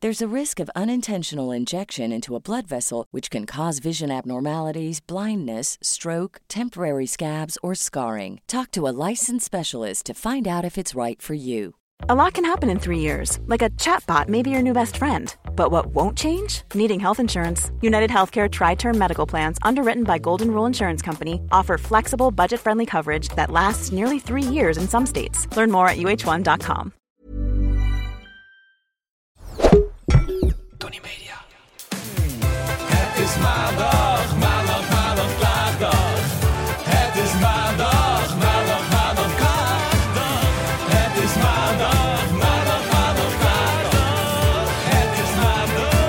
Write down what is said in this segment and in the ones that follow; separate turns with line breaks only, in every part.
There's a risk of unintentional injection into a blood vessel, which can cause vision abnormalities, blindness, stroke, temporary scabs, or scarring. Talk to a licensed specialist to find out if it's right for you.
A lot can happen in three years, like a chatbot may be your new best friend. But what won't change? Needing health insurance. United Healthcare Tri Term Medical Plans, underwritten by Golden Rule Insurance Company, offer flexible, budget friendly coverage that lasts nearly three years in some states. Learn more at uh1.com.
Tony Media. Het is maandag, maandag, maandag, klaagdag. Het is maandag, maandag, maandag, klaagdag. Het is maandag, maandag, maandag, klaagdag. Het is maandag,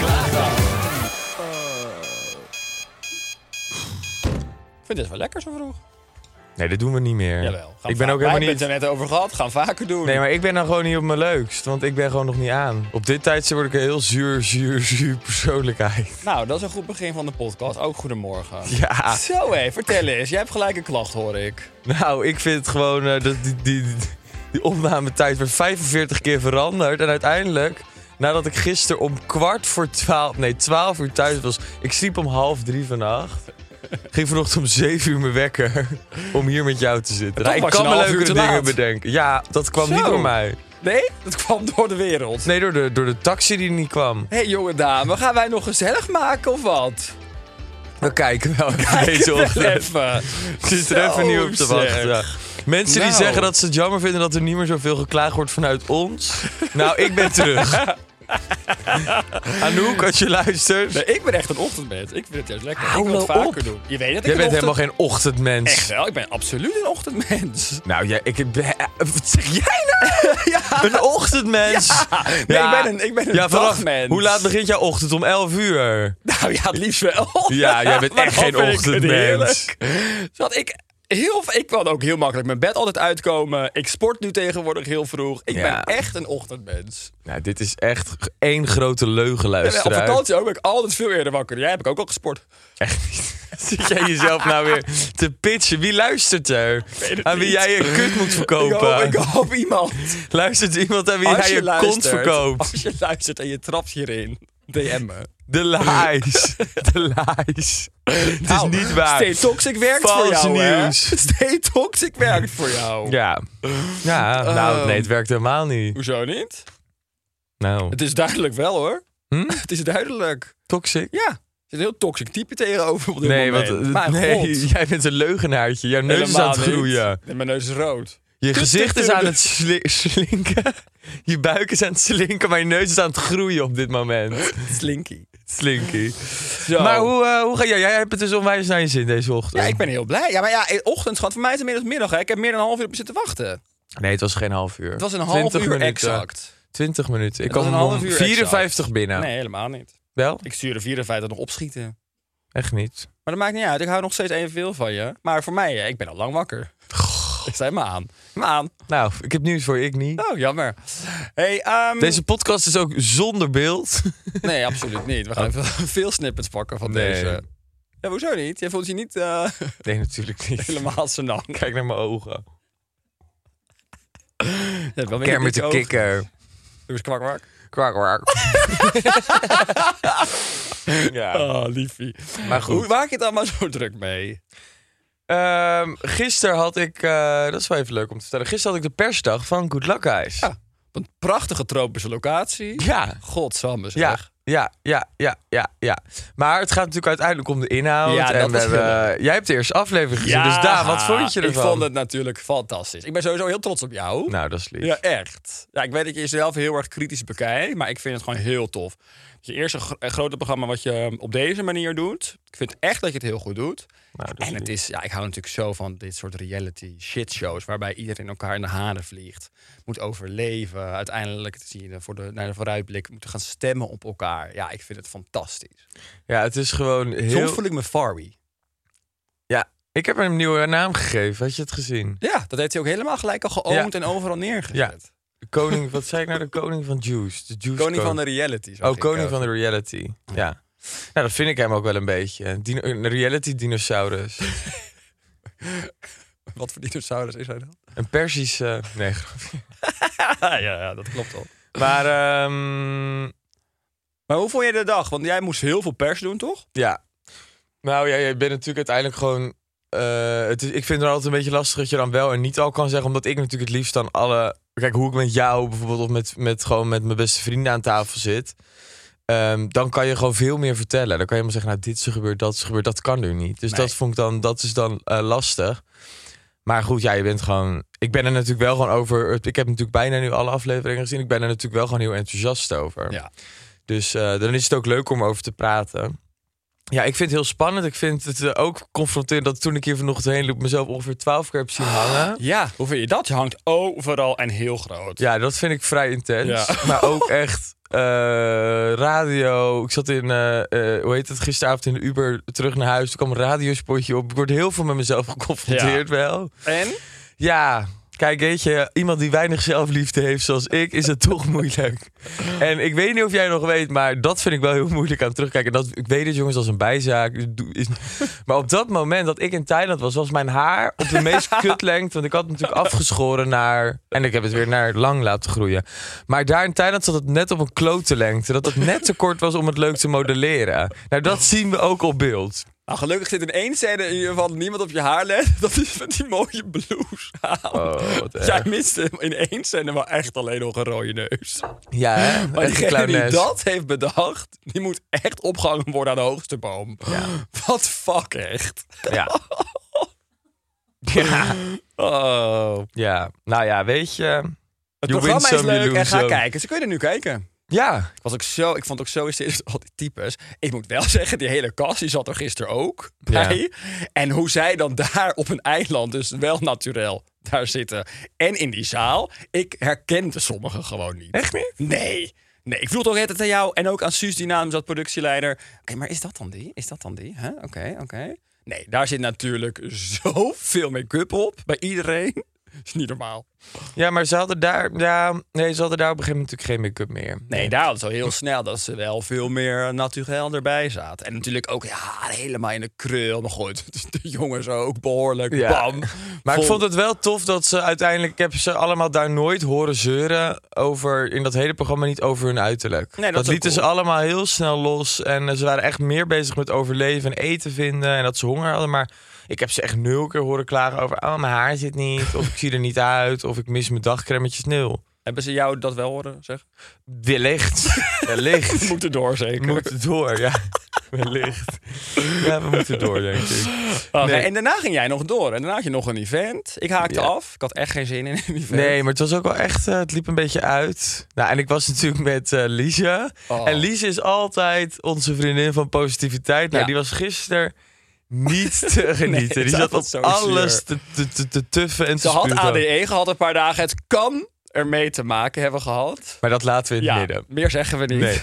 klaagdag.
Ik vind dit wel lekker zo vroeg.
Nee, dat doen we niet meer.
Jawel. Gaan
ik ben
va-
ook helemaal
Wij
niet...
hebben het er net over gehad. Gaan vaker doen.
Nee, maar ik ben dan gewoon niet op mijn leukst. Want ik ben gewoon nog niet aan. Op dit tijdstip word ik een heel zuur, zuur, zuur persoonlijkheid.
Nou, dat is een goed begin van de podcast. Ook goedemorgen.
Ja.
Zo hé, vertel eens. Jij hebt gelijk een klacht hoor ik.
Nou, ik vind het gewoon eh, dat die, die, die, die opnametijd werd 45 keer veranderd. En uiteindelijk, nadat ik gisteren om kwart voor twaalf, nee, twaalf uur thuis was. Ik sliep om half drie vannacht. Ging vanochtend om zeven uur mijn wekker om hier met jou te zitten.
toch
Nou, ik
was je
kan
een
me
half uur
leukere
te
dingen
laat.
bedenken. Ja, dat kwam
Zo.
niet door mij.
Nee, dat kwam door de wereld.
Nee, door de, door de taxi die niet kwam.
Hé hey, jonge dame, gaan wij nog gezellig maken of wat?
We kijken wel even deze ochtend.
Even.
Ik zit er even niet op te
Zo,
wachten.
zeg.
ja. Mensen die
Nou.
zeggen dat ze het jammer vinden dat er niet meer zoveel geklaagd wordt vanuit ons. nou, ik ben terug. Anouk, als je luistert.
Nee, ik ben echt een ochtendmens. Ik vind het juist lekker.
Hou
ik wil het
nou
vaker
op.
doen. Je weet dat ik
Jij
een
bent helemaal
ochtend-
geen ochtendmens.
Echt wel, ik ben absoluut een ochtendmens.
Nou, jij, ik, eh, wat zeg jij nou? Een ochtendmens. Ja,
nee, ik ben een- ik ben een
vanaf-
dagmens.
Hoe laat begint jouw ochtend? Om 11 uur.
Nou ja, het liefst wel.
Ja, jij bent
Maar
echt
dan
geen
vind ik het
ochtendmens.
heerlijk. Zodat ik heel, ik kan ook heel makkelijk mijn bed altijd uitkomen. Ik sport nu tegenwoordig heel vroeg. Ik
Ja.
ben echt een ochtendmens.
Nou, dit is echt g- één grote leugen,
En op
luisteraar.
vakantie ook ben ik altijd veel eerder wakker. Jij heb ik ook al gesport.
Echt niet. Zit jij jezelf nou weer te pitchen? Wie luistert er?
weet het
Aan wie
niet.
jij je kut moet
Ik hoop,
verkopen?
ik hoop iemand.
Luistert iemand aan wie
Als
jij je, kont verkoopt?
Als je luistert en je trapt hierin. DM me.
De lies. De lies. Het
Nou,
is niet waar.
Stay Toxic werkt voor
Vals
jou, hè?
nieuws.
Stay Toxic werkt voor jou.
Ja. Ja,
Oh.
nou nee, het werkt helemaal niet.
Hoezo niet?
Nou,
Het is duidelijk wel, hoor.
Hm?
Het is duidelijk.
toxic.
Ja, er zit een heel toxic type tegenover op dit
Nee,
moment.
want eh,
Mijn
nee,
god.
jij bent een leugenaartje. Jouw neus is
Helemaal
aan het groeien.
niet. Nee, mijn neus is rood.
Je
Tut,
gezicht
tut,
is
tut.
aan het sli- slinken. Je buik is aan het slinken, maar je neus is aan het groeien op dit moment.
Slinky.
Slinky.
Zo.
Maar hoe, eh, hoe ga jij? Jij hebt het dus onwijs naar je zin deze ochtend.
Oh. Ja, ik ben heel blij. Ja, maar ja, ochtend, schat. Voor mij is het inmiddels middag. Hè. Ik heb meer dan een half uur op zitten wachten.
Nee, het was geen half uur.
Het was een half uur
20 minuten.
exact.
20 minuten. Ik
was
kwam
een half
om
uur
54
exact.
binnen.
Nee, helemaal niet.
Wel?
Ik stuurde 54 nog opschieten.
Echt niet.
Maar dat maakt niet uit. Ik hou nog steeds evenveel van je. Maar voor mij, hè, ik ben al lang wakker. Ik sta me aan. Me aan.
Nou, ik heb nieuws voor je, ik niet.
Oh, jammer. Hey, ehm,
Deze podcast is ook zonder beeld.
Nee, absoluut niet. We gaan even veel snippets pakken van
Oh. Nee.
deze. Ja, hoezo niet? Jij voelt je niet eh,
Nee, natuurlijk niet.
helemaal senang. Je
Kijk naar mijn ogen.
hebt wel meer
Kermit
dikke
de
ogen.
kikker.
Doe eens kwak, kwak.
Kwak, kwak. ja.
Ah, liefie.
Maar goed.
Hoe maak je het allemaal zo druk mee?
Ehm, gisteren had ik... eh, dat is wel even leuk om te vertellen. Gisteren had ik de persdag van Good Luck Guys.
Ja. Op een prachtige tropische locatie.
Ja.
Godsamme zeg.
Ja, Ja, ja, ja, ja, ja. Maar het gaat natuurlijk uiteindelijk om de inhoud.
Ja, dat
en we
is heel
hebben, jij hebt de eerste aflevering gezien, dus daar, wat vond je ervan?
Ik vond het natuurlijk fantastisch. Ik ben sowieso heel trots op jou.
Nou, dat is lief.
Ja, echt. Ja, ik weet dat je jezelf heel erg kritisch bekijkt, maar ik vind het gewoon heel tof. Dat je eerste gro- eh, grote programma wat je op deze manier doet. Ik vind echt dat je het heel goed doet.
Nou, dat is
en het is, ja, ik hou natuurlijk zo van dit soort reality shitshows, waarbij iedereen elkaar in de haren vliegt, moet overleven. Uiteindelijk zie je dan voor de, naar de vooruitblik moeten gaan stemmen op elkaar. Ja, ik vind het fantastisch.
Ja, het is gewoon heel...
Soms voel ik me Farby.
Ja, ik heb hem een nieuwe naam gegeven. Had je het gezien?
Ja, dat heeft hij ook helemaal gelijk al geoomd
Ja.
en overal neergezet.
De Koning, wat zei ik nou? De koning van Juice. De Juice
Koning van de reality. eh.
Oh, koning van de reality. Ja. Nou, dat vind ik hem ook wel een beetje. Dino- een reality dinosaurus.
Wat voor dinosaurus is hij dan?
Een Persische... Nee, grapje.
ja, ja, dat klopt al.
Maar, ehm,
Maar hoe vond je de dag? Want jij moest heel veel pers doen, toch?
ja. Nou ja, je bent natuurlijk uiteindelijk gewoon... eh, het is, ik vind het altijd een beetje lastig dat je dan wel en niet al kan zeggen. Omdat ik natuurlijk het liefst dan alle... Kijk, hoe ik met jou bijvoorbeeld of met, met, gewoon met mijn beste vrienden aan tafel zit... ehm, dan kan je gewoon veel meer vertellen. Dan kan je maar zeggen, nou dit is er gebeurd, dat is er gebeurd. Dat kan nu niet. Dus
Nee.
dat, vond ik dan, dat is dan eh, lastig. Maar goed, ja, je bent gewoon... Ik ben er natuurlijk wel gewoon over... Ik heb natuurlijk bijna nu alle afleveringen gezien. Ik ben er natuurlijk wel gewoon heel enthousiast over.
Ja.
Dus eh, dan is het ook leuk om over te praten. Ja, ik vind het heel spannend. Ik vind het eh, ook confronterend dat toen ik hier vanochtend heen liep... mezelf ongeveer twaalf keer heb zien hangen.
Ja. Hoe vind je dat? Je hangt overal en heel groot.
Ja, dat vind ik vrij intens.
Ja.
Maar ook echt eh, radio. Ik zat in, eh, eh, hoe heet het, gisteravond in de Uber terug naar huis. Toen kwam een radiospotje op. Ik word heel veel met mezelf geconfronteerd wel.
En?
Ja, kijk, weet je, iemand die weinig zelfliefde heeft zoals ik, is het toch moeilijk. En ik weet niet of jij nog weet, maar dat vind ik wel heel moeilijk aan terugkijken. Dat, ik weet het, jongens, als een bijzaak. Ik doe- is- Maar op dat moment dat ik in Thailand was, was mijn haar op de meest kutlengte. Want ik had het natuurlijk afgeschoren naar. En ik heb het weer naar lang laten groeien. Maar daar in Thailand zat het net op een klote lengte. Dat het net te kort was om het leuk te modelleren. Nou, dat zien we ook op beeld.
Nou, gelukkig zit in één scène in ieder geval niemand op je haar let. Dat is met die mooie blouse aan.
Oh, wat erg.
Jij miste in één scène wel echt alleen nog een rode neus.
Ja, hè?
Maar
Echt een
diegene die
clownes.
dat heeft bedacht, die moet echt opgehangen worden aan de hoogste boom. Wat fuck echt.
Ja. ja.
Oh.
Ja, nou ja, weet je.
Het
You
programma
win
is
some, you
leuk en
lose
ga
some.
kijken. Ze kunnen nu kijken.
Ja,
Ik, was ook zo, ik vond ook zo hysterisch al die types. Ik moet wel zeggen, die hele kast die zat er gisteren ook bij. En hoe zij dan daar op een eiland, dus wel naturel, daar zitten. En in die zaal. Ik herkende sommigen gewoon niet.
Echt niet?
Nee. Nee, ik voel toch het aan jou en ook aan Suus, die naam zat productieleider. Oké, maar is dat dan die? Is dat dan die? Huh? Oké, oké. Nee, daar zit natuurlijk zoveel make-up op bij iedereen. is niet normaal.
ja maar ze hadden daar, ja, nee, ze hadden daar op een gegeven moment natuurlijk geen make-up meer.
Nee, daar hadden ze al heel snel dat ze wel veel meer naturel erbij zaten. En natuurlijk ook ja, helemaal in de krul. Maar goed, de jongens ook behoorlijk.
Ja.
Bam.
Maar
Vol-
ik vond het wel tof dat ze uiteindelijk, ik heb ze allemaal daar nooit horen zeuren over, in dat hele programma niet over hun uiterlijk.
Nee, dat is ook
lieten
cool.
ze allemaal heel snel los en eh, ze waren echt meer bezig met overleven en eten vinden en dat ze honger hadden. Maar ik heb ze echt nul keer horen klagen over, oh mijn haar zit niet, of ik zie er niet uit, of ik mis mijn dagcremetjes, nul.
Hebben ze jou dat wel horen zeggen?
Wellicht, wellicht.
Moeten door zeker.
We moeten door, ja. Wellicht. Ja, we moeten door, denk ik.
Oké,
Nee.
En daarna ging jij nog door. En daarna had je nog een event. Ik haakte
Ja.
af. Ik had echt geen zin in een event.
Nee, maar het was ook wel echt... eh, het liep een beetje uit. Nou, en ik was natuurlijk met eh Liesje.
Oh.
En Liesje is altijd onze vriendin van positiviteit. Nou,
Ja.
die was gisteren niet te genieten.
het
die
was
zat
altijd
op
zo
alles
zuur.
te, te, te, te tuffen en
Ze
te
had
spugen.
ADE gehad een paar dagen. Het kan ermee te maken hebben gehad.
Maar dat laten we in
Ja,
het midden.
meer zeggen we niet.
Nee.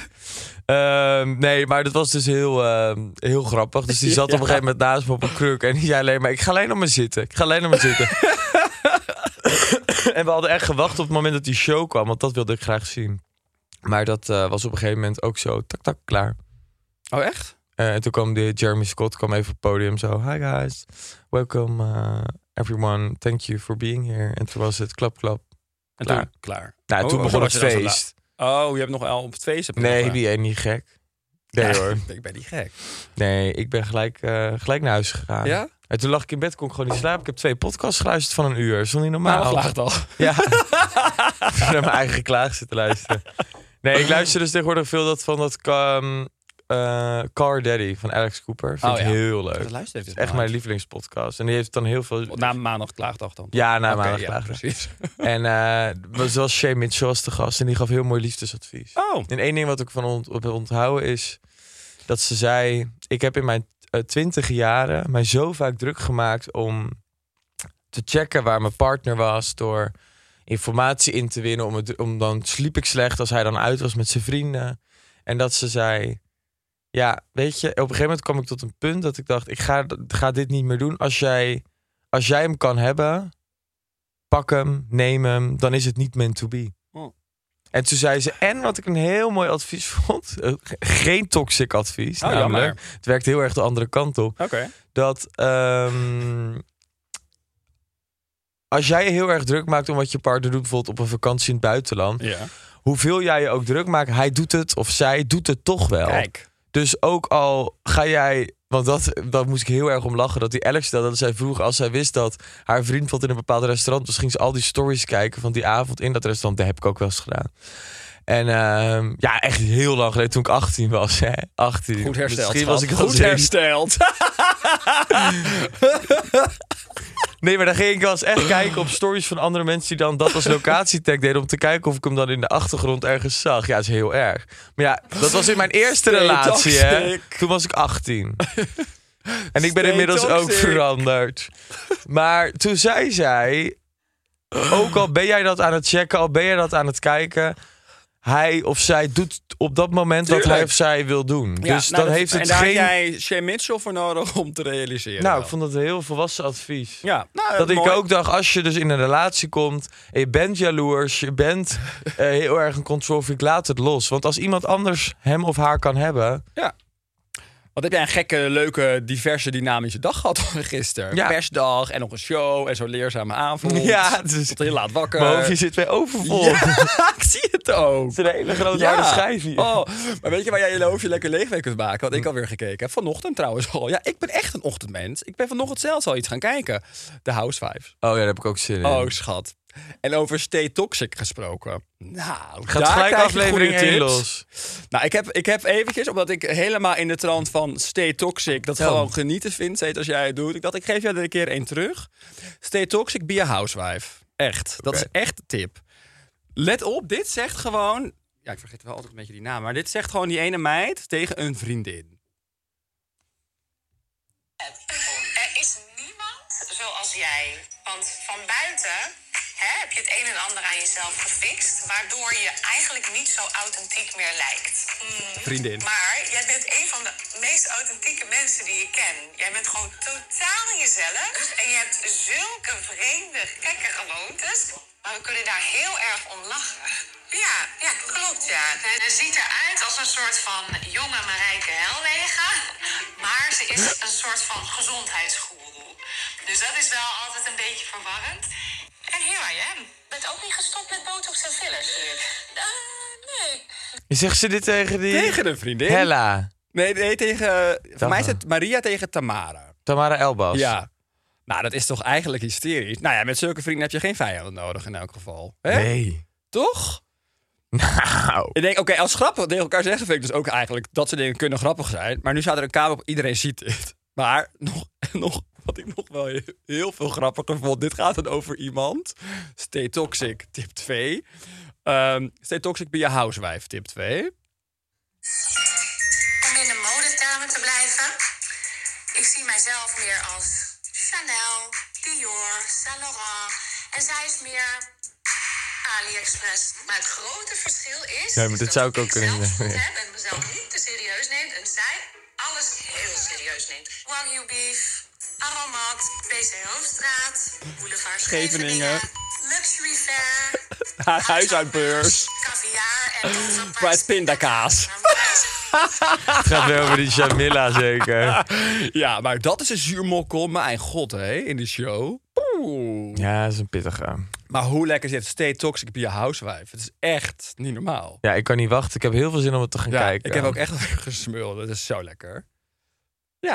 Ehm, nee, maar dat was dus heel, ehm, heel grappig. Dus die zat op
Ja.
een gegeven moment naast me op een kruk. En die zei alleen maar, ik ga alleen nog maar zitten. Ik ga alleen nog maar zitten. en we hadden echt gewacht op het moment dat die show kwam. Want dat wilde ik graag zien. Maar dat eh, was op een gegeven moment ook zo, tak tak, klaar.
Oh, echt?
Eh, en toen kwam de Jeremy Scott kwam even op het podium zo. Hi guys, welcome eh, everyone. Thank you for being here. En toen was het klap klap.
En
Klaar.
toen? Klaar.
Nou,
Oh,
toen
oh,
begon
was
het
je dan zo la-
feest.
Oh, je hebt nog al op het feest. heb je nog,
Nee,
eh,
die ene niet gek. Nee
Ja,
hoor.
Ik ben niet gek.
Nee, ik ben gelijk, eh, gelijk naar huis gegaan.
Ja?
En toen lag ik in bed, kon ik gewoon niet slapen. Ik heb twee podcasts geluisterd van een uur. Dat is toch niet
Maar
normaal?
geklaagd al.
Ja. ik heb naar mijn eigen klaag zitten luisteren. Nee, ik luister dus tegenwoordig veel dat van dat ehm, eh, Car Daddy van Alex Cooper. Vind
Oh,
ik
ja.
heel leuk.
Dat luistert
is
even
echt
naar.
mijn lievelingspodcast. En die heeft dan heel veel...
Na maandag klaagdag dan.
Ja, na
Oké,
maandag
ja,
klaagdag.
precies.
En eh was wel Shay Mitchell was de gast en die gaf heel mooi liefdesadvies.
Oh,
En één ding wat ik van ont op heb onthouden is dat ze zei: ik heb in mijn eh, twintig jaren mij zo vaak druk gemaakt om te checken waar mijn partner was door informatie in te winnen. Om, het, om dan sliep ik slecht als hij dan uit was met zijn vrienden. En dat ze zei. Ja, weet je, op een gegeven moment kwam ik tot een punt dat ik dacht: ik ga, ga dit niet meer doen. Als jij, als jij hem kan hebben, pak hem, neem hem, dan is het niet meant to be.
Oh.
En toen zei ze, en wat ik een heel mooi advies vond, eh, ge- geen toxic advies,
Oh,
namelijk,
jammer.
het werkt heel erg de andere kant op,
oké.
dat ehm, als jij je heel erg druk maakt om wat je partner doet, bijvoorbeeld op een vakantie in het buitenland,
Ja.
hoeveel jij je ook druk maakt, hij doet het of zij doet het toch wel.
Kijk.
Dus ook al ga jij. Want dat, dat moest ik heel erg om lachen. Dat die Alex dat, dat zij vroeg als zij wist dat haar vriend valt in een bepaald restaurant. Dus ging ze al die stories kijken van die avond in dat restaurant. Dat heb ik ook wel eens gedaan. En ehm, ja, echt heel lang geleden toen ik 18 was. Hè? 18.
Goed hersteld.
Misschien was
schat.
ik al
Goed
17.
hersteld.
Nee, maar dan ging ik wel eens echt kijken op stories van andere mensen die dan dat als locatietag deden. Om te kijken of ik hem dan in de achtergrond ergens zag. Ja, dat is heel erg. Maar ja, dat was in mijn eerste
Stay
relatie. Hè?
toxic.
Toen was ik 18. En ik ben
Stay
inmiddels ook
toxic.
veranderd. Maar toen zei zij, ook al ben jij dat aan het checken, al ben jij dat aan het kijken, hij of zij doet op dat moment wat hij
Tuurlijk.
of zij wil doen.
Ja,
dus
nou,
dan
dat-
heeft het
en daar
geen.
heb jij Shane Mitchell voor nodig om te realiseren.
Nou, ik
dat.
vond dat een heel volwassen advies.
Ja, nou,
Dat ik
mooi.
ook dacht, als je dus in een relatie komt, en je bent jaloers, je bent eh, heel erg een control freak, laat het los. Want als iemand anders hem of haar kan hebben,
Ja. Wat heb jij een gekke, leuke, diverse, dynamische dag gehad gisteren?
Ja.
Persdag en nog een show en zo'n leerzame avond.
Ja, het is-
Tot heel laat wakker.
mijn hoofdje zit weer overvol.
Eh, Ja, ik zie het ook.
Het is een hele grote harde schijf hier.
Oh, maar weet je waar jij je hoofdje lekker leeg mee kunt maken? Wat ik alweer gekeken heb. Vanochtend trouwens al. Ja, ik ben echt een ochtendmens. Ik ben vanochtend zelfs al iets gaan kijken. The Housewives.
ja, daar heb ik ook zin in.
Oh, schat. En over Stay Toxic gesproken. Nou,
Gaat
daar
gelijk
krijg je
aflevering
goede
1
tips.
los.
Nou, ik heb, ik heb eventjes, omdat ik helemaal in de trant van Stay Toxic... dat gewoon genieten vind, steeds als jij het doet. Ik dacht, ik geef jou er een keer één terug. Stay Toxic, be a housewife. Echt. Dat is echt de tip. Let op, dit zegt gewoon... Ja, ik vergeet wel altijd een beetje die naam. Maar dit zegt gewoon die ene meid tegen een vriendin.
Eh, Er is niemand zoals jij. Want van buiten hè, heb je het een en ander aan jezelf gefixt, waardoor je eigenlijk niet zo authentiek meer lijkt. Mm.
Vriendin.
Maar jij bent een van de meest authentieke mensen die ik ken. Jij bent gewoon totaal jezelf en je hebt zulke vreemde, gekke gewoontes. Maar we kunnen daar heel erg om lachen. Ja, ja klopt ja. Ze ziet eruit als een soort van jonge Marijke Helwegen. Maar ze is een soort van gezondheidsgoeroe. Dus dat is wel altijd een beetje verwarrend. En here I am. Je bent ook niet gestopt met botox en fillers, zie ik. Eh, nee.
Zegt ze dit tegen die...
Tegen een vriendin?
Hella.
Nee, nee, tegen... Voor mij is het Maria tegen Tamara.
Tamara Elbas.
Ja. Nou, dat is toch eigenlijk hysterisch. Nou ja, met zulke vrienden heb je geen vijanden nodig in elk geval. Hè?
Nee.
Toch?
Nou.
Ik denk, oké, als grappig tegen elkaar zeggen vind ik dus ook eigenlijk dat soort dingen kunnen grappig zijn. Maar nu staat er een kamer op, iedereen ziet dit. Maar nog, nog, wat ik nog wel heel, heel veel grappiger vond, dit gaat dan over iemand. Stay toxic, tip 2. Ehm stay toxic bij je housewife, tip 2.
om in de modetermen te blijven. Ik zie mijzelf meer als Chanel, Dior, Saint Laurent. En zij is meer AliExpress. Maar het grote verschil is...
Ja, maar dit
dat
zou ik ook kunnen
zelf
zeggen,
goed
ja.
heb en mezelf niet te serieus neemt. En zij alles heel serieus neemt. Wagyu beef, Aromat, PC Hoofdstraat, Boulevard
Scheveningen.
Scheveningen, Luxury Fair,
Haar huisuitbeurs.
Caviar en Overprijs
Prijs pindakaas.
Het gaat weer over die Jamila zeker.
Ja, maar dat is een zuurmokkel, mijn god, hè, in de show. Oeh.
Ja, dat is een pittige.
Maar hoe lekker zit Stay Toxic bij je housewife? Het is echt niet normaal.
Ja, ik kan niet wachten. Ik heb heel veel zin om het te gaan
Ja,
kijken.
ik heb ook echt gesmuld. Dat is zo lekker. Ja,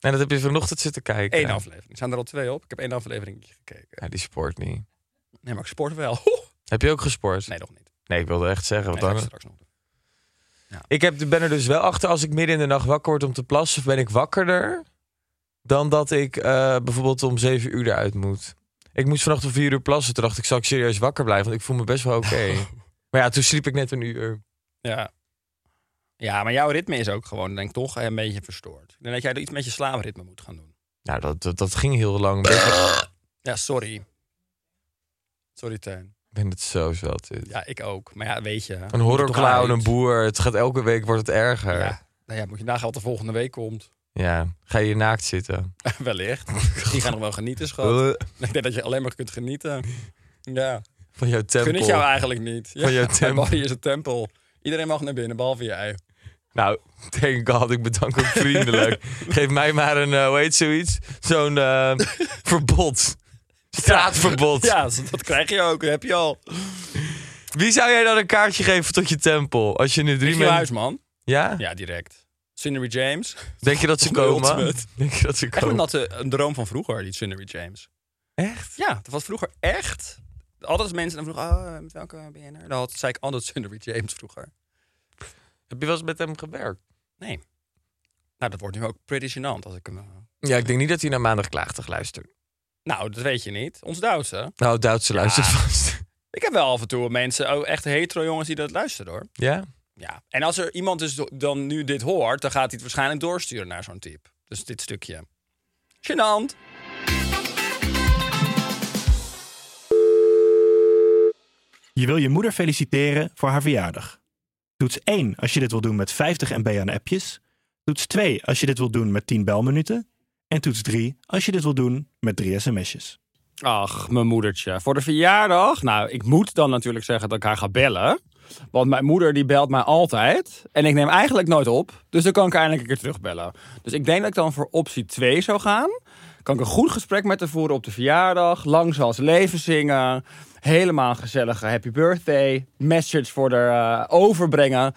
En dat heb je vanochtend zitten kijken.
één aflevering. Er zijn er al twee op. Ik heb één aflevering gekeken.
eh, Ja, die sport niet.
Nee, maar ik sport wel. Oeh.
Heb je ook gesport?
Nee, nog niet.
Nee, ik wilde echt zeggen.
Nee,
Want
dat ga ik
dan...
straks nog doen.
Ik heb, ben er dus wel achter als ik midden in de nacht wakker word om te plassen, ben ik wakkerder dan dat ik eh, bijvoorbeeld om 7 uur eruit moet. Ik moest vannacht om 4 uur plassen. Toen dacht ik, zal ik serieus wakker blijven? Want ik voel me best wel oké. maar ja, toen sliep ik net een uur.
Ja. ja, maar jouw ritme is ook gewoon, denk ik, toch eh, een beetje verstoord. Ik denk dat jij iets met je slaapritme moet gaan doen.
Nou, dat, dat, dat ging heel lang. Ik
Ja, sorry. Sorry, Teun.
ben het zo zat. dit.
Ja, ik ook. Maar ja, weet je.
Een horrorclown, een boer. Het gaat elke week wordt het erger.
Ja. Nou ja, moet je nagaan wat er volgende week komt.
Ja. Ga je naakt zitten.
Wellicht. Die gaan nog wel genieten, schat. Ik denk dat je alleen maar kunt genieten. Ja.
Van jouw tempel.
Gun het jou eigenlijk niet. Ja,
Van jouw
mijn
tempel.
body is een tempel. Iedereen mag naar binnen, behalve jij.
Nou, thank God, ik bedank hem vriendelijk. Geef mij maar een, eh, hoe heet zoiets? Zo'n eh, verbod. Straatverbod.
Ja, dat dat krijg je ook. Dat heb je al.
Wie zou jij dan een kaartje geven tot je tempel? Als je nu drie
Michiel
men-
Huisman.
Ja?
Ja, direct. Cindery James.
Denk je dat ze
Of de
komen?
ultimate.
Denk je dat ze
Echt een,
komen?
natte, een droom van vroeger, die Cindery James.
Echt?
Ja, dat was vroeger echt. Altijd als mensen dan vroegen, oh, met welke ben je er? Dan had, zei ik altijd Cindery James vroeger.
Heb je wel eens met hem gewerkt?
Nee. Nou, dat wordt nu ook pretty gênant als ik hem... eh,
Ja, ik denk niet dat hij naar maandag klaagtig luistert.
Nou, dat weet je niet. Ons Duitse.
Nou, Duitse luistert vast.
Ik heb wel af en toe mensen, oh, echt hetero jongens die dat luisteren hoor.
Ja?
Ja. En als er iemand dus do- dan nu dit hoort, dan gaat hij het waarschijnlijk doorsturen naar zo'n type. Dus dit stukje. Gênant.
Je wil je moeder feliciteren voor haar verjaardag. Toets 1 als je dit wil doen met 50 MB aan appjes. Toets 2 als je dit wil doen met 10 belminuten. En toets 3 als je dit wil doen met 3 sms'jes.
Ach, mijn moedertje. Voor de verjaardag. Nou, ik moet dan natuurlijk zeggen dat ik haar ga bellen. Want mijn moeder die belt mij altijd. En ik neem eigenlijk nooit op. Dus dan kan ik haar eindelijk een keer terugbellen. Dus ik denk dat ik dan voor optie 2 zou gaan. Kan ik een goed gesprek met haar voeren op de verjaardag. Lang zoals leven zingen. Helemaal een gezellige happy birthday. Message voor haar eh, overbrengen.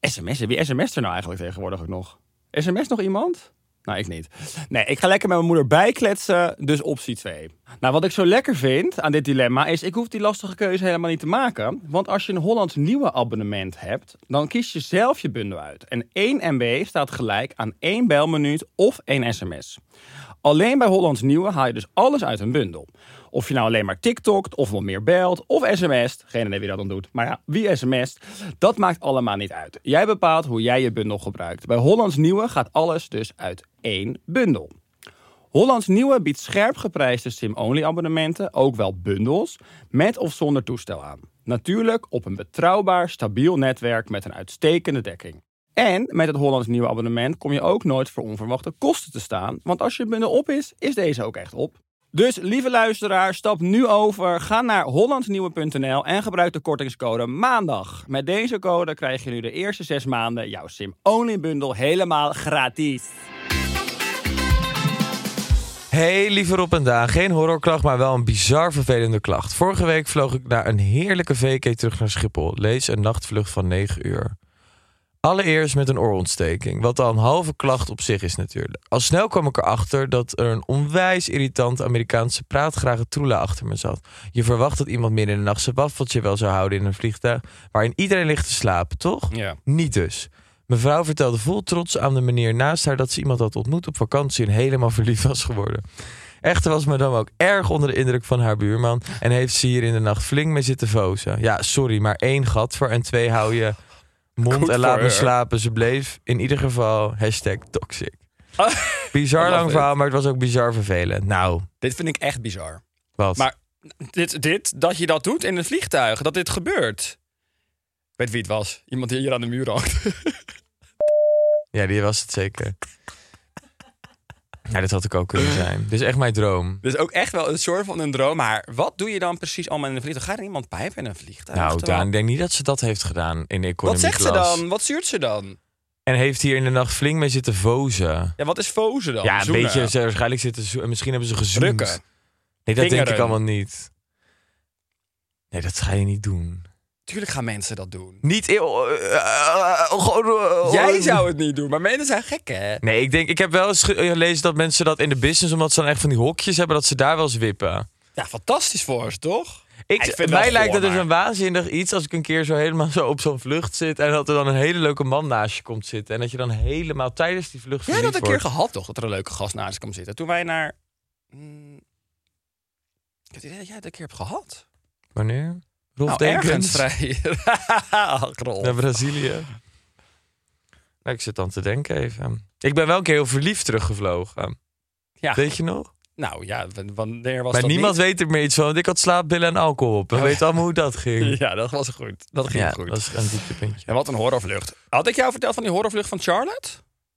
SMS, wie sms er nou eigenlijk tegenwoordig ook nog? SMS nog iemand? Nou, ik niet. Nee, ik ga lekker met mijn moeder bijkletsen, dus optie 2. Nou, wat ik zo lekker vind aan dit dilemma is... ik hoef die lastige keuze helemaal niet te maken. Want als je een Hollands Nieuwe abonnement hebt... dan kies je zelf je bundel uit. En 1 MB staat gelijk aan 1 belminuut of 1 sms. Alleen bij Hollands Nieuwe haal je dus alles uit een bundel. Of je nou alleen maar TikTokt, of wat meer belt, of sms't. Geen idee wie dat dan doet. Maar ja, wie sms't, dat maakt allemaal niet uit. Jij bepaalt hoe jij je bundel gebruikt. Bij Hollands Nieuwe gaat alles dus uit één bundel. Hollands Nieuwe biedt scherp geprijsde SIM-only abonnementen, ook wel bundels, met of zonder toestel aan. Natuurlijk op een betrouwbaar, stabiel netwerk met een uitstekende dekking. En met het Hollands Nieuwe abonnement kom je ook nooit voor onverwachte kosten te staan, want als je bundel op is, is deze ook echt op. Dus lieve luisteraar, stap nu over, ga naar hollandsnieuwe.nl en gebruik de kortingscode MAANDAG. Met deze code krijg je nu de eerste zes maanden jouw SIM-only bundel helemaal gratis.
Hey, lieve Rob en Daan. Geen horrorklacht, maar wel een bizar vervelende klacht. Vorige week vloog ik naar een heerlijke VK terug naar Schiphol. Lees een nachtvlucht van 9 uur. Allereerst met een oorontsteking, wat al een halve klacht op zich is natuurlijk. Al snel kwam ik erachter dat er een onwijs irritant Amerikaanse praatgrage troela achter me zat. Je verwacht dat iemand midden in de nacht zijn waffeltje wel zou houden in een vliegtuig waarin iedereen ligt te slapen, toch?
Ja.
Niet dus. Mevrouw vertelde vol trots aan de meneer naast haar dat ze iemand had ontmoet op vakantie en helemaal verliefd was geworden. Echter was madame ook erg onder de indruk van haar buurman en heeft ze hier in de nacht flink mee zitten vozen. Ja, sorry, maar één gat voor en twee hou je mond
Goed
en laat
voor
me
haar.
slapen. Ze bleef in ieder geval hashtag toxic.
Ah,
bizar
dat mag
lang
niet.
verhaal, maar het was ook bizar vervelend. Nou,
Dit vind ik echt bizar.
wat?
Maar dit, dit, dat je dat doet in een vliegtuig, dat dit gebeurt. Ik weet wie het was. Iemand die hier aan de muur hangt.
Ja, die was het zeker. Ja, dit had ik ook kunnen zijn. Dit is echt mijn droom.
Dit is ook echt wel een soort van een droom. Maar wat doe je dan precies allemaal in een vliegtuig? Ga je iemand pijpen in een vliegtuig?
Nou,
Terwijl-
Daan, ik denk niet dat ze dat heeft gedaan in
Wat
de economie
zegt ze dan? Wat stuurt ze dan?
En heeft hier in de nacht flink mee zitten vozen.
Ja, wat is fozen dan?
Ja, een
Zoenen.
beetje. Ze hebben waarschijnlijk zitten zo- Misschien hebben ze gezoend.
drukken.
Nee, dat denk ik
Vingeren.
allemaal niet. Nee, dat ga je niet doen.
Tuurlijk gaan mensen dat doen.
Niet... eeuw- eh, eh, gewoon, eh,
Jij zou het niet doen, maar mensen zijn gek, hè?
Nee, ik denk... Ik heb wel eens ge- gelezen dat mensen dat in de business... omdat ze dan echt van die hokjes hebben... dat ze daar wel eens wippen.
Ja, fantastisch voor ze, toch?
Ik,
Ik vind
mij
dat
lijkt
voor,
dat dus
maar-
een waanzinnig iets als ik een keer zo helemaal zo op zo'n vlucht zit. En dat er dan een hele leuke man naast je komt zitten. En dat je dan helemaal tijdens die vlucht
Jij had dat een
verliefd
keer gehad,
wordt.
toch? Dat er een leuke gast naast je kwam zitten. Toen wij naar... Mm, ik heb het idee dat jij dat een keer hebt gehad.
Wanneer? Rolf
Nou, ergens vrij.
Denkens
Ach, Rolf.
naar Brazilië. Nou, ik zit dan te denken even. Ik ben wel een keer heel verliefd teruggevlogen.
Ja.
Weet je nog?
Nou ja, w- wanneer was
Maar
dat
niemand
niet?
weet er meer iets van, want ik had slaapbillen en alcohol op. We weten allemaal hoe dat ging.
Ja, dat was goed. Dat ging
Ja,
goed.
dat is een dieptepuntje.
En wat een horrorvlucht. Had ik jou verteld van die horrorvlucht van Charlotte?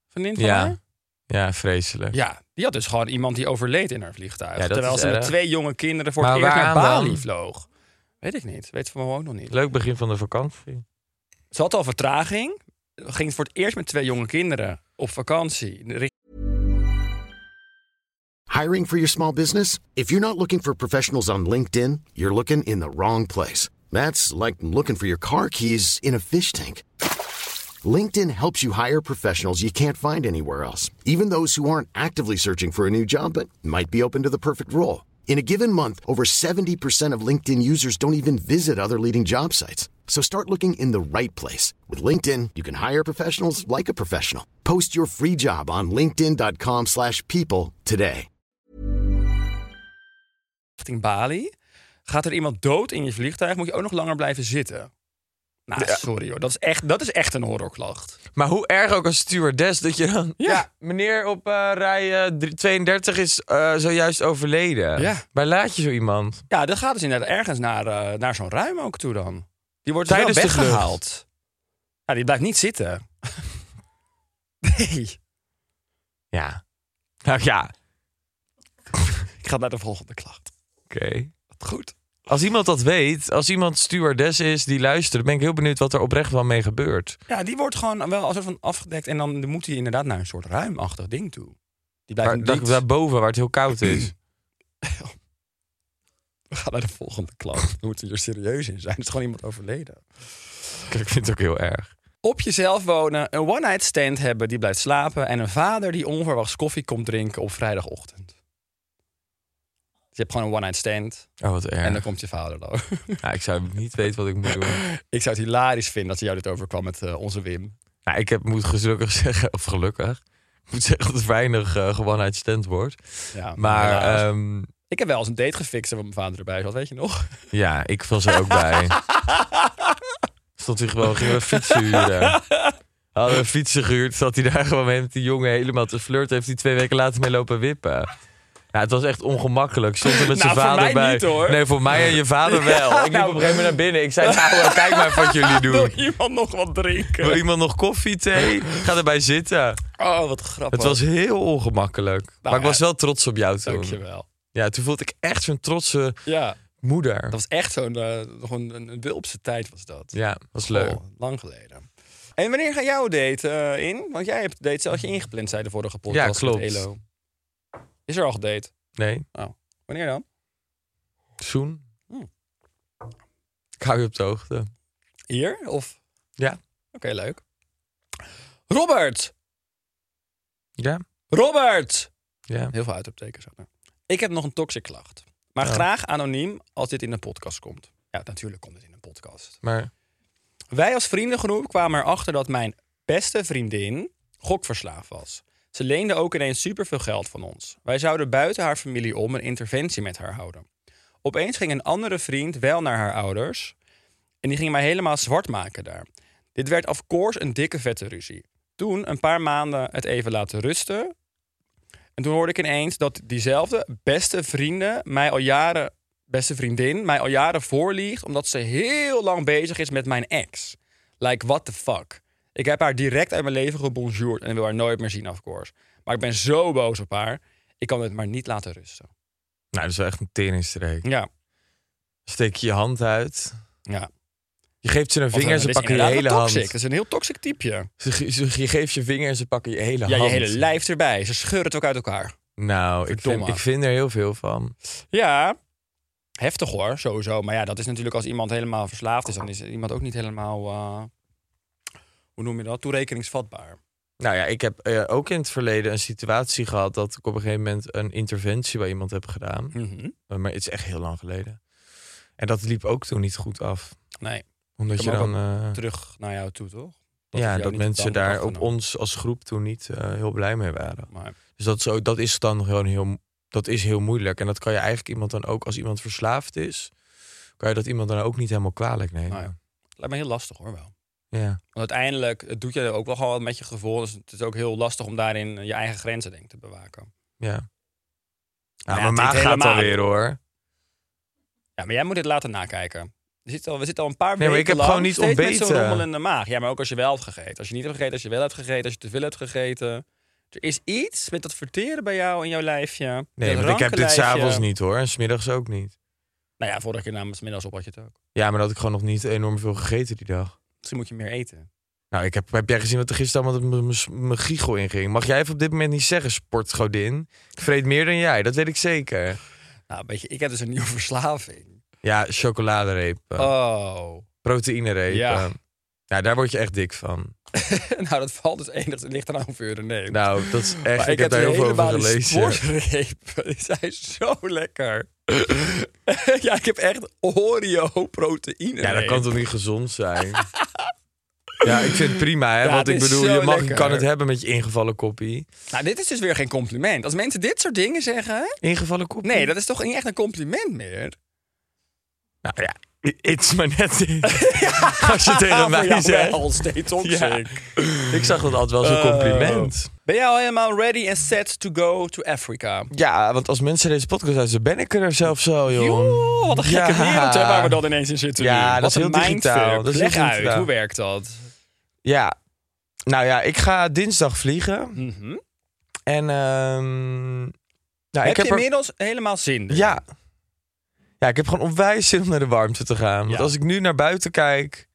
Vriendin van haar?
Ja. ja, vreselijk.
Ja, die had dus gewoon iemand die overleed in haar vliegtuig.
Ja, dat
terwijl
is
ze met
erg.
twee jonge kinderen voor het
Maar
eerst naar
waaraan
Bali
dan?
vloog. Weet ik niet. Weet van me ook nog niet.
Leuk begin van de vakantie.
Ze had al vertraging. Ging voor het eerst met twee jonge kinderen op vakantie.
Hiring for your small business? If you're not looking for professionals on LinkedIn, you're looking in the wrong place. That's like looking for your car keys in a fish tank. LinkedIn helps you hire professionals you can't find anywhere else, even those who aren't actively searching for a new job but might be open to the perfect role. In a given month, over 70% of LinkedIn users don't even visit other leading job sites. So start looking in the right place. With LinkedIn, you can hire professionals like a professional. Post your free job on linkedin.com/people slash people today.
richting Bali. Gaat er iemand dood in je vliegtuig, moet je ook nog langer blijven zitten. Nou, sorry hoor. Dat is echt, dat is echt een horrorklacht.
Maar hoe erg ook als stewardess dat je dan...
Ja.
Ja, meneer op eh, rij eh, drie- 32 is eh, zojuist overleden.
Ja.
Waar laat je zo iemand?
Ja, dat gaat dus inderdaad ergens naar, eh, naar zo'n ruim ook toe dan. Die wordt dus
Tijdens de
wel
vlucht.
weggehaald. Ja, die blijft niet zitten. nee.
Ja. Nou ja,
Ik ga naar de volgende klacht.
oké.
Wat goed.
Als iemand dat weet, als iemand stewardess is die luistert... ben ik heel benieuwd wat er oprecht wel mee gebeurt.
Ja, die wordt gewoon wel als soort van afgedekt. En dan moet hij inderdaad naar een soort ruimachtig ding toe. Die blijft
Waar,
niet...
daar- daarboven, waar het heel koud is.
We gaan naar de volgende klacht. We moeten hier serieus in zijn. Er is gewoon iemand overleden.
Kijk, ik vind het ook heel erg.
Op jezelf wonen, een one-night stand hebben die blijft slapen... en een vader die onverwachts koffie komt drinken op vrijdagochtend. Dus je hebt gewoon een one-night stand...
Oh, wat erg.
En dan komt je vader dan.
Ja, ik zou niet weten wat ik moet doen.
ik zou het hilarisch vinden als jou dit overkwam met eh, onze Wim.
Nou, ik heb, moet gelukkig zeggen, of gelukkig, ik moet zeggen dat er weinig eh, gewoon uit stand wordt.
Ja,
Maar
helaas.
ehm,
ik heb wel eens een date gefixt waar mijn vader erbij zat, weet je nog?
ja, ik was er ook bij. Stond hij gewoon, gingen we fietsen huren. Hadden we fietsen gehuurd, zat hij daar gewoon mee met die jongen helemaal te flirten. Heeft hij twee weken later mee lopen wippen. Ja, het was echt ongemakkelijk. Stond er met zijn
Nou, voor
vader
mij
bij.
niet, hoor.
Nee, voor mij en je vader wel. ik liep
nou.
op een gegeven moment naar binnen. Ik zei, nou, kijk maar wat jullie
Wil
doen.
iemand nog wat
Wil
drinken?
iemand nog koffie, thee? Ga erbij zitten.
Oh, wat grappig.
Het was heel ongemakkelijk. maar ik
ja.
was wel trots op jou toen.
Dankjewel.
Ja, toen voelde ik echt zo'n trotse
Ja,
moeder.
dat was echt zo'n eh, gewoon een, een wulpse tijd was dat.
Ja, was leuk.
Oh, lang geleden. En wanneer ga jouw date eh, in? Want jij hebt date zelfs je ingepland, zei de vorige podcast
Ja, klopt.
met Elo. Is er al gedate? Oh.
Nee,
Wanneer dan?
zoen.
Hm.
Ik hou je op de hoogte.
Hier? Of?
Ja.
Oké, leuk. Robert!
Ja,
Robert!
ja.
Heel veel uitroeptekens. hadden. Ik heb nog een toxic klacht. Maar
Ja.
graag anoniem als dit in de podcast komt. Ja, natuurlijk komt het in een podcast.
Maar nou,
Wij als vriendengroep kwamen erachter dat mijn beste vriendin gokverslaafd was. Ze leende ook ineens superveel geld van ons. Wij zouden buiten haar familie om een interventie met haar houden. Opeens ging een andere vriend wel naar haar ouders. En die ging mij helemaal zwart maken daar. Dit werd of course een dikke vette ruzie. Toen een paar maanden het even laten rusten. En toen hoorde ik ineens dat diezelfde beste vrienden mij al jaren, beste vriendin, mij al jaren voorliegt. Omdat ze heel lang bezig is met mijn ex. Like, what the fuck? Ik heb haar direct uit mijn leven gebonjourd en wil haar nooit meer zien, of course. Maar ik ben zo boos op haar. Ik kan het maar niet laten rusten.
nou, dat is wel echt een teringstreek.
Ja,
Steek je je hand uit.
ja.
Je geeft ze een
Want,
vinger en
eh,
ze
dit is
pakken je hele
inderdaad wel
hand.
toxic. Dat is een heel toxic typeje.
Ze, ge- ze- je geeft je vinger en ze pakken je hele
Ja,
hand.
je hele lijf erbij. Ze scheuren het ook uit elkaar.
Nou, ik vind,
Verdomme.
ik vind er heel veel van.
Ja, heftig hoor, sowieso. Maar ja, dat is natuurlijk als iemand helemaal verslaafd is, dan is iemand ook niet helemaal, eh, hoe noem je dat, toerekeningsvatbaar.
Nou ja, ik heb eh, ook in het verleden een situatie gehad... dat ik op een gegeven moment een interventie bij iemand heb gedaan. Eh,
Mhm.
Uh, Maar het is echt heel lang geleden. En dat liep ook toen niet goed af.
Nee,
Omdat je
kwam ook
dan... eh,
terug naar jou toe, toch? het
ja,
jou
dat
niet op de
mensen
handen
daar
had
op
genomen.
ons als groep toen niet eh, heel blij mee waren.
Maar
Dus dat is, ook- dat is dan gewoon heel, dat is heel moeilijk. En dat kan je eigenlijk iemand dan ook, als iemand verslaafd is, kan je dat iemand dan ook niet helemaal kwalijk nemen.
Nou het lijkt me heel lastig hoor wel.
ja.
Want uiteindelijk het doet je ook wel gewoon met je gevoel. Dus het is ook heel lastig om daarin je eigen grenzen denk ik, te bewaken.
Ja.
Maar
Ja,
Nou ja,
mijn
het
maag
deed
gaat
helemaal
alweer hoor.
Ja, maar jij moet dit later nakijken. We zitten al, we zitten al een paar
Nee, maar
weken
ik heb
lang
gewoon niet
steeds met zo'n
ontbeten.
rommel in de maag. Ja, maar ook als je wel hebt gegeten. Als je niet hebt gegeten, als je wel hebt gegeten, als je te veel hebt gegeten. Er is iets met dat verteren bij jou in jouw lijfje.
Nee, want ik heb dit s'avonds niet hoor. En s'middags ook niet.
Nou ja, vorige keer namens middags op had je het ook.
Ja, maar dat had ik gewoon nog niet enorm veel gegeten die dag.
Misschien moet je meer eten.
Nou, ik heb, heb jij gezien wat er gisteren allemaal mijn- mijn mijn giegel inging? Mag jij even op dit moment niet zeggen, sportgodin? Ik vreet meer dan jij, dat weet ik zeker.
Nou, weet je, ik heb dus een nieuwe verslaving.
Ja, chocoladerepen.
Oh.
Proteïnerepen.
Ja.
eh. Ja. daar word je echt dik van.
nou, dat valt dus enig. Het ligt eraan hoeveel je er neemt.
Nou, dat is echt.
Maar
ik, heb daar heel veel
hele
over
baan
gelezen.
sportrepen. Die zijn zo lekker. ja, ik heb echt Oreo-proteïne.
Ja, dat kan toch niet gezond zijn? ja, ik vind het prima, hè?
Ja,
want
het
ik
is
bedoel,
zo
je, mag, je
lekker.
kan het hebben met je ingevallen koppie.
Nou, dit is dus weer geen compliment. Als mensen dit soort dingen zeggen...
Ingevallen koppie?
Nee, dat is toch niet echt een compliment meer?
Nou ja, i- het is maar net. Als je tegen
voor jou
mij zegt.
wel, steeds op
Ja.
zich.
Ik zag dat altijd wel als een
Oh.
compliment.
Ben jij al helemaal ready and set to go to Africa?
Ja, want als mensen deze podcast luisteren, ben ik er zelf zo, joh.
Joh, wat een gekke
Ja.
wereld hè, waar we dan ineens in zitten
Ja,
nu.
dat
Wat
is
een
heel digitaal.
mindfuck.
Dat is heel
Leg uit,
digitaal.
hoe werkt dat?
Ja. Nou ja, ik ga dinsdag vliegen.
Mhm.
En ehm, nou,
heb
ik heb
je
er-
inmiddels helemaal zin? erin?
Ja. Ja, ik heb gewoon onwijs zin om naar de warmte te gaan. Want
Ja.
als ik nu naar buiten kijk...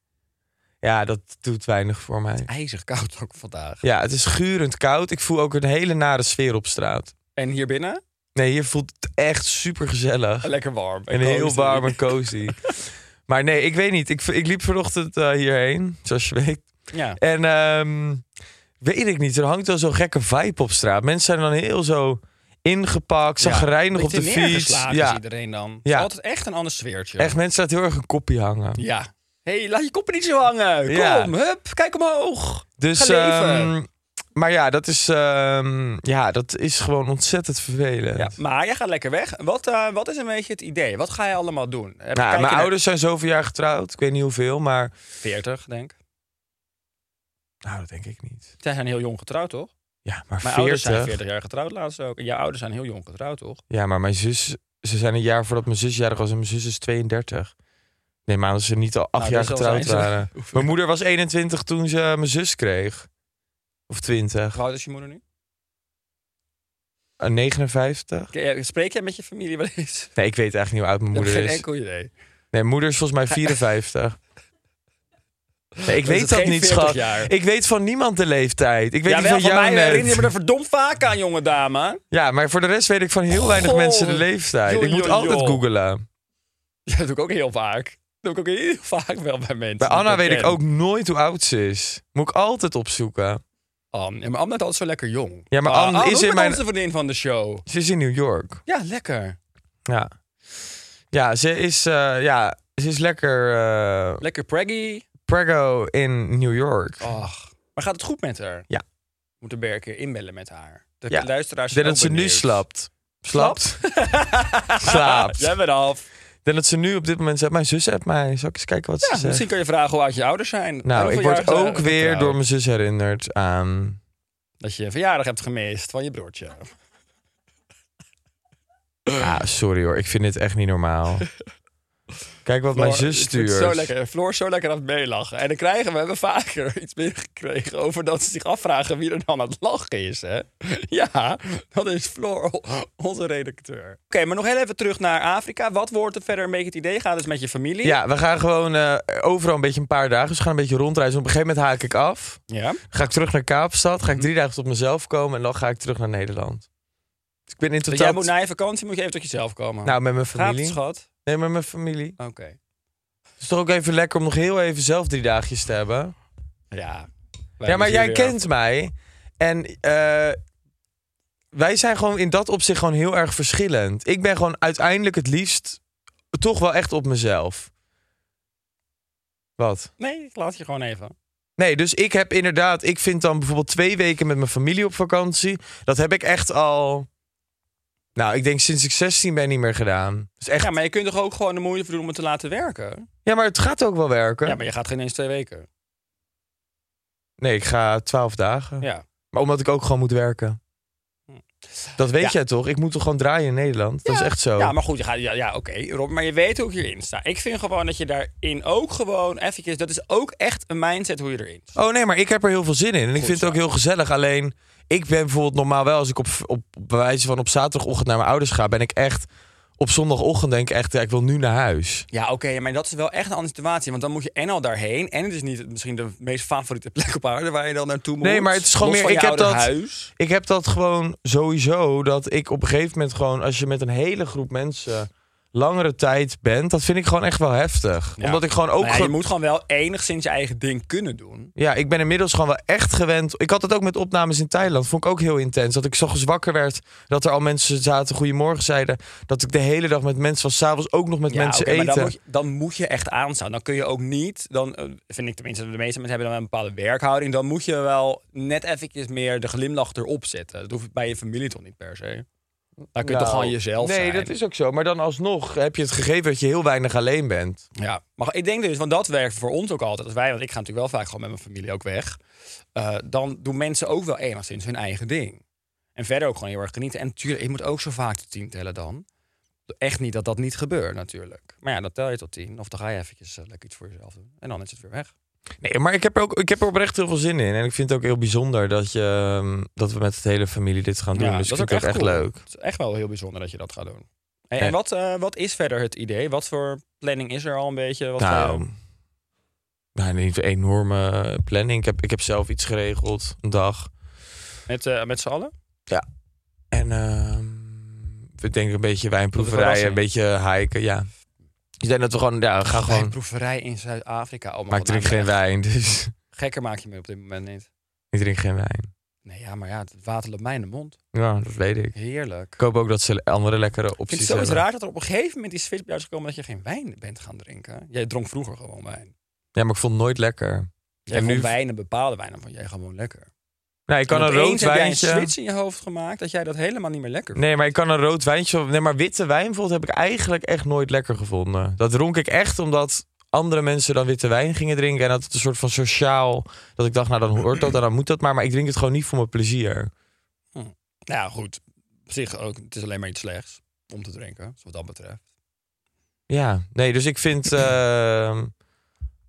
Ja, dat doet weinig voor mij.
IJzig koud ook vandaag.
Ja, het is gurend koud. Ik voel ook een hele nare sfeer op straat.
En hier binnen?
Nee, hier voelt het echt super gezellig.
Lekker warm.
En heel warm en cozy. maar nee, ik weet niet. Ik, ik liep vanochtend eh, hierheen, zoals je weet.
Ja.
En ehm, weet ik niet, er hangt wel zo'n gekke vibe op straat. Mensen zijn dan heel zo ingepakt, zagrijnig op de
Beetje
fiets.
neergeslagen is
Ja,
iedereen dan. Het is
Ja.
altijd echt een ander sfeertje.
echt, mensen laten heel erg een koppie hangen.
Ja. Hé, hey, laat je koppen niet zo hangen. Kom,
Ja.
hup, kijk omhoog.
Dus,
Ga leven.
ehm, maar ja dat, is, ehm, ja, dat is gewoon ontzettend vervelend.
Ja, maar jij gaat lekker weg. Wat, eh, wat is een beetje het idee? Wat ga je allemaal doen? Eh, Heb- kijk
Nou,
je
mijn
naar
ouders zijn zoveel jaar getrouwd. Ik weet niet hoeveel, maar...
40, denk ik.
Nou, dat denk ik niet.
Zij zijn heel jong getrouwd, toch?
Ja, maar
Mijn
40.
ouders zijn 40 jaar getrouwd laatst ook. En jouw ouders zijn heel jong getrouwd, toch?
Ja, maar mijn zus... Ze zijn een jaar voordat mijn zus jarig was en mijn zus is 32. Nee, maar dat ze niet al acht
Nou,
jaar
dus al
getrouwd
zijn ze-
waren. Mijn moeder was 21 toen ze mijn zus kreeg. Of 20.
Hoe oud is je moeder nu?
Eh, 59?
Ke- Spreek jij met je familie wel eens?
Nee, ik weet eigenlijk niet hoe oud mijn
Ik heb
moeder
geen
is.
enkel idee.
Nee, mijn moeder is volgens mij 54. Nee, ik
Dan is
weet
het
dat
geen
niet,
40
schat.
jaar.
Ik weet van niemand de leeftijd. Ik weet
ja,
niet
wel,
van
van
jou
mij eh, herinner je me er
net.
verdomd vaak aan, jonge dame.
Ja, maar voor de rest weet ik van heel weinig
Goh.
mensen de leeftijd.
Joh,
ik moet
joh,
altijd
joh.
googelen.
Ja, dat doe ik ook heel vaak. Dat doe ik ook heel vaak wel bij mensen.
Bij
die
Anna weet ik
ken.
ook nooit hoe oud ze is. Moet ik altijd opzoeken.
Anne. Ja, maar Anne is altijd zo lekker jong.
Ja, maar
Ah,
Anne is
ook
in
met
mijn-
onze vriendin van de show.
Ze is in New York.
Ja, lekker.
Ja, ja ze is, eh, ja, ze is lekker eh,
Lekker preggy.
prego in New York.
Ach. Maar gaat het goed met haar?
Ja.
Moet er een keer inbellen met haar. De
Ja.
luisteraars
Ik
zijn ook
denk dat ze nu
benieuwd.
slaapt. Slaapt? slaapt.
Jij bent af.
Ik denk dat ze nu op dit moment zegt, mijn zus hebt mij. Zal ik eens kijken wat
Ja,
ze
misschien
zegt?
kun je vragen hoe oud je ouders zijn.
Nou,
Hoeveel
ik word
jaar zijn-
ook weer door
getrouwd?
mijn zus herinnerd aan...
Dat je een verjaardag hebt gemist van je broertje. Eh.
Ah, sorry hoor, ik vind dit echt niet normaal. Kijk wat mijn
Floor,
zus
ik vind
stuurt.
het Zo lekker. Floor is zo lekker aan het meelachen. En dan krijgen we, hebben vaker iets binnengekregen over dat ze zich afvragen wie er dan aan het lachen is. Hè? Ja, dat is Floor, o- onze redacteur. Oké, maar nog heel even terug naar Afrika. Wat wordt het verder een beetje het idee? Gaat het met je familie?
Ja, we gaan gewoon eh, overal een beetje een paar dagen. Dus we gaan een beetje rondreizen. Op een gegeven moment haak ik af.
Ja.
Ga ik terug naar Kaapstad. Ga ik drie dagen tot mezelf komen. En dan ga ik terug naar Nederland. Dus ik ben in
Dus
totaal...
jij moet na je vakantie moet je even tot jezelf komen.
Nou, met mijn
Gaat het,
familie.
schat?
Nee, met mijn familie.
Oké.
Het is toch ook even lekker om nog heel even zelf drie dagjes te hebben.
Ja. Wij
Ja, maar
moeten
jij
weer-
kent mij. En eh, wij zijn gewoon in dat opzicht gewoon heel erg verschillend. Ik ben gewoon uiteindelijk het liefst toch wel echt op mezelf. Wat?
Nee, ik laat je gewoon even.
Nee, dus ik heb inderdaad, ik vind dan bijvoorbeeld twee weken met mijn familie op vakantie. Dat heb ik echt al, nou, ik denk sinds ik 16 ben niet meer gedaan. Dus echt,
Ja, maar je kunt toch ook gewoon de moeite voor doen om het te laten werken?
het gaat ook wel werken.
Ja, maar je gaat geen eens twee weken.
Nee, ik ga 12 dagen.
Ja. Hm.
Maar omdat ik ook gewoon moet werken. Dat weet
Ja.
jij toch? Ik moet toch gewoon draaien in Nederland? Dat
Ja.
is echt zo.
Ja, maar goed, je gaat, ja, ja oké, Rob, maar je weet hoe ik hierin sta. Ik vind gewoon dat je daarin ook gewoon eventjes... Dat is ook echt een mindset hoe je erin staat.
Oh nee, maar ik heb er heel veel zin in. En ik vind het ook heel gezellig. Alleen, ik ben bijvoorbeeld normaal wel, als ik op, op bij wijze van op zaterdagochtend naar mijn ouders ga, ben ik echt op zondagochtend denk ik echt, ja, ik wil nu naar huis.
Ja, oké, maar dat is wel echt een andere situatie. Want dan moet je en al daarheen... en het is niet misschien de meest favoriete plek op aarde waar je dan naartoe moet.
Nee, maar het is gewoon
Los
meer,
van
ik
je
heb
oude
dat-
Huis.
Ik heb dat gewoon sowieso, dat ik op een gegeven moment gewoon, als je met een hele groep mensen langere tijd bent, dat vind ik gewoon echt wel heftig.
Ja.
Omdat ik gewoon ook...
Maar ja,
ge-
je moet gewoon wel enigszins je eigen ding kunnen doen.
Ja, ik ben inmiddels gewoon wel echt gewend. Ik had het ook met opnames in Thailand. Vond ik ook heel intens. Dat ik s'ochtends wakker werd. Dat er al mensen zaten. Goedemorgen zeiden. Dat ik de hele dag met mensen was. S'avonds ook nog met
ja,
mensen
oké, maar
eten.
Dan moet, je, dan moet je echt aanstaan. Dan kun je ook niet, dan eh, vind ik tenminste, de meeste mensen hebben dan wel een bepaalde werkhouding. Dan moet je wel net eventjes meer de glimlach erop zetten. Dat hoeft bij je familie toch niet per se. Dan kun je toch
Nou,
gewoon jezelf
Nee,
zijn.
dat is ook zo. Maar dan alsnog heb je het gegeven dat je heel weinig alleen bent.
Ja, maar ik denk dus, want dat werkt voor ons ook altijd. Als wij, want ik ga natuurlijk wel vaak gewoon met mijn familie ook weg. eh, dan doen mensen ook wel enigszins hun eigen ding. En verder ook gewoon heel erg genieten. En natuurlijk, je moet ook zo vaak tot tien tellen dan. Echt niet dat dat niet gebeurt natuurlijk. Maar ja, dan tel je tot tien. Of dan ga je eventjes eh, lekker iets voor jezelf doen. En dan is het weer weg.
Nee, maar ik heb, er ook, ik heb er oprecht heel veel zin in. En ik vind het ook heel bijzonder dat, je, ehm, dat we met het hele familie dit gaan doen. dus ik vind het ook echt
cool.
leuk.
Het is echt wel heel bijzonder dat je dat gaat doen. Hey,
Ja.
en wat, eh, wat is verder het idee? Wat voor planning is er al een beetje? Wat ga je-
nou, nou, niet een enorme planning. Ik heb, ik heb zelf iets geregeld. Een dag.
met eh, met z'n allen?
En ehm, we denken een beetje wijnproeverijen,
verrassing.
een beetje hiken, ja. Ik denk dat we gewoon, ja, we gaan
Een
gewoon...
proeverij in Zuid-Afrika. Oh,
Maar ik drink geen
wijn.
wijn, dus
Gekker maak je me op dit moment niet.
ik drink geen wijn.
Nee, ja, maar ja, het water loopt mij in de mond.
Ja, dat weet ik.
Heerlijk.
Ik hoop ook dat ze andere lekkere
Ik vind
opties
het sowieso
hebben.
raar dat er op een gegeven moment die switch bij jou is gekomen dat je geen wijn bent gaan drinken. Jij dronk vroeger gewoon wijn.
Ja, maar ik vond het nooit lekker. Nou,
Jij
En
vond
nu-
wijn, een bepaalde wijn, dan vond jij gewoon lekker.
Nou, ik kan een rood
opeens heb jij een
wijntje...
switch in je hoofd gemaakt dat jij dat helemaal niet meer lekker vindt.
Nee, maar ik kan een rood wijntje... Nee, maar witte wijn bijvoorbeeld heb ik eigenlijk echt nooit lekker gevonden. Dat dronk ik echt omdat andere mensen dan witte wijn gingen drinken. En dat het een soort van sociaal... Dat ik dacht, nou dan hoort dat en dan moet dat maar. Maar ik drink het gewoon niet voor mijn plezier.
Nou goed, op zich ook, het is alleen maar iets slechts om te drinken, dus wat dat betreft.
Ja, nee, dus ik vind. ehm,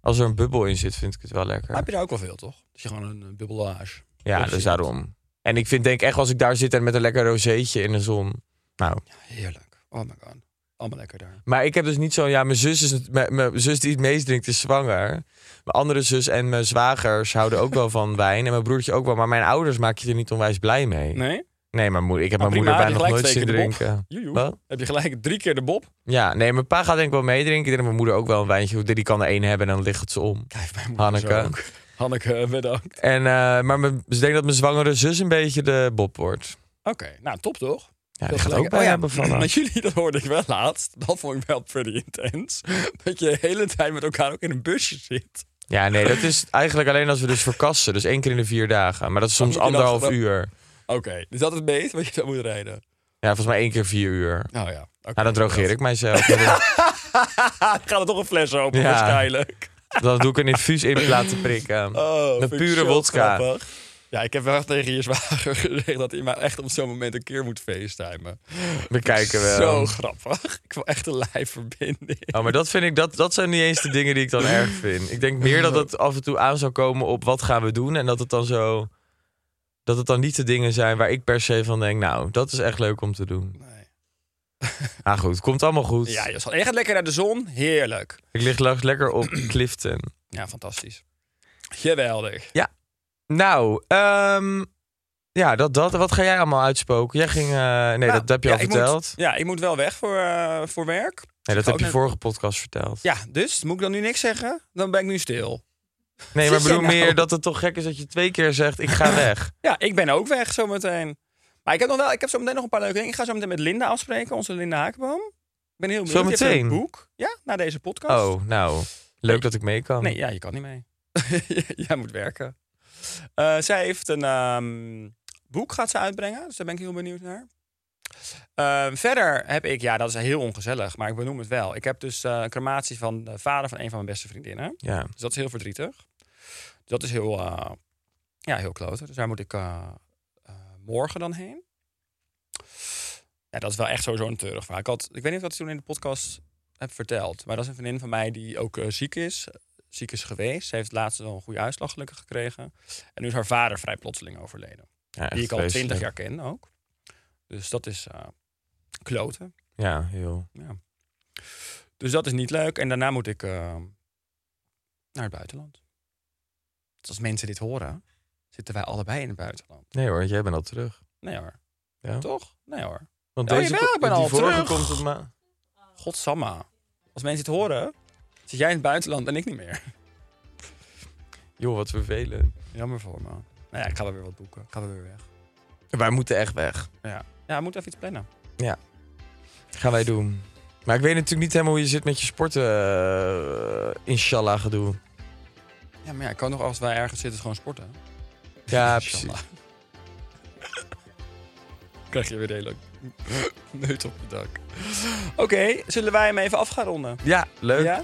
als er een bubbel in zit, vind ik het wel
Maar
lekker.
heb je daar ook wel veel, toch? Dat je gewoon een eh, bubbelage.
Ja,
precies.
dus daarom. En ik vind, denk echt, als ik daar zit en met een lekker rozeetje in de zon. Nou,
Heerlijk. Oh my god. Allemaal lekker daar.
maar ik heb dus niet zo'n. Ja, mijn zus, is, het- mijn, mijn zus die het meest drinkt is zwanger. Mijn andere zus en mijn zwagers houden ook wel van wijn. En mijn broertje ook wel. Maar mijn ouders maak je er niet onwijs blij mee. Nee,
Nee?
mijn moeder, ik heb
Ah,
mijn
prima, heb
moeder bijna
je
nog nooit
gelijk
zien
twee keer de
drinken.
Joejoe.
Wat?
Heb je gelijk drie keer de bob?
Ja, nee, mijn pa gaat denk ik wel meedrinken. Ik denk dat mijn moeder ook wel een wijntje. Die kan er één hebben en dan ligt het ze om.
Kijk, mijn moeder zo
Hanneke.
ook. Hanneke, bedankt.
En, eh, maar mijn, dus ik denk dat mijn zwangere zus een beetje de Bob wordt.
Oké, nou top toch?
Ja,
Dat
die
is
gaat
lekker.
ook bij
ja,
hebben van.
Met jullie, dat hoorde ik wel laatst. Dat vond ik wel pretty intens. Dat je de hele tijd met elkaar ook in een busje zit.
Ja, nee, dat is eigenlijk alleen als we dus verkassen. Dus één keer in de vier dagen. Maar dat is
Dan
soms
moet je dan
anderhalf
gewoon-
uur.
Oké, dus dat is het beest wat je dan moet rijden.
Ja, volgens mij één keer vier uur.
Nou ja. oké.
Nou, dan drogeer ik mijzelf. Dat-
Ah, gaat er toch een fles open
Ja.
waarschijnlijk.
Dan doe ik een infuus in laten prikken.
Oh,
Met
vind ik
pure
zo
wodka.
grappig. Ja, ik heb wel echt tegen je zwager gezegd dat hij mij echt op zo'n moment een keer moet facetimen.
We kijken
Zo
wel.
grappig. Ik wil echt een lijfverbinding.
Oh, maar dat vind ik, dat, dat zijn niet eens de dingen die ik dan erg vind. Ik denk meer dat het af en toe aan zou komen op wat gaan we doen. En dat het dan zo. Dat het dan niet de dingen zijn waar ik per se van denk. Nou, dat is echt leuk om te doen.
Nee.
Ah, goed. Komt allemaal goed.
Ja, Jos, je gaat lekker naar de zon. Heerlijk.
Ik lig langs lekker op Clifton.
Ja, fantastisch. Geweldig.
Nou, ehm, ja, dat, dat. Wat ga jij allemaal uitspoken? Jij ging. eh, nee,
Nou,
dat, heb je
ja,
al
ik
verteld.
moet- ja, ik moet wel weg voor, eh, voor werk.
nee,
ik
dat
ga
heb je
ook
vorige podcast verteld.
Ja, dus moet ik dan nu niks zeggen? Dan ben ik nu stil.
nee, maar
zeg
bedoel
jij nou?
meer dat het toch gek is dat je twee keer zegt: ik ga weg.
Ja, ik ben ook weg zometeen. Maar ik heb, nog wel, ik heb zometeen nog een paar leuke dingen. Ik ga zo meteen met Linda afspreken, onze Linda Hakenboom. ben heel benieuwd.
Zometeen.
Je hebt een boek ja, na deze podcast.
Oh, nou. Leuk dat ik mee kan.
Nee, ja, je kan niet mee. Jij moet werken. Eh, zij heeft een ehm, boek gaat ze uitbrengen, dus daar ben ik heel benieuwd naar. Ehm, verder heb ik, ja, dat is heel ongezellig, maar ik benoem het wel. Ik heb dus eh, een crematie van de vader van een van mijn beste vriendinnen.
Ja.
Dus dat is heel verdrietig. Dus dat is heel, eh, ja, heel klote. Dus daar moet ik eh, eh, morgen dan heen. Ja, dat is wel echt sowieso een treurig verhaal. Ik, had, ik weet niet of ik dat toen in de podcast heb verteld. Maar dat is een vriendin van mij die ook eh, ziek is. Ziek is geweest. Ze heeft laatst wel een goede uitslag gelukkig gekregen. En nu is haar vader vrij plotseling overleden.
ja
die ik al
echt
twintig
vreselijk.
jaar ken ook. Dus dat is eh kloten.
Ja, heel.
Ja. Dus dat is niet leuk. En daarna moet ik eh, naar het buitenland. Dus als mensen dit horen, zitten wij allebei in het buitenland.
Nee hoor, jij bent al terug.
Nee hoor.
Ja.
Toch? Nee hoor.
Want
Ja, jawel, ik ben
die
al
vorige
terug.
komt het maar.
Godsamma. Als mensen dit horen, zit jij in het buitenland en ik niet meer.
Joh, wat vervelend.
Jammer voor me. Nou ja, ik ga wel weer wat boeken. Ik ga wel weer weg.
Wij moeten echt weg.
Ja, ja we moeten even iets plannen.
Gaan wij doen. Maar ik weet natuurlijk niet helemaal hoe je zit met je sporten. eh, inshallah gedoe.
Ja, maar ja, ik kan nog als wij ergens zitten gewoon sporten.
Ja,
Inshallah.
precies.
Krijg je weer een hele neut op het dak. Oké, zullen wij hem even af gaan ronden?
Ja, leuk. Mm.
Ja?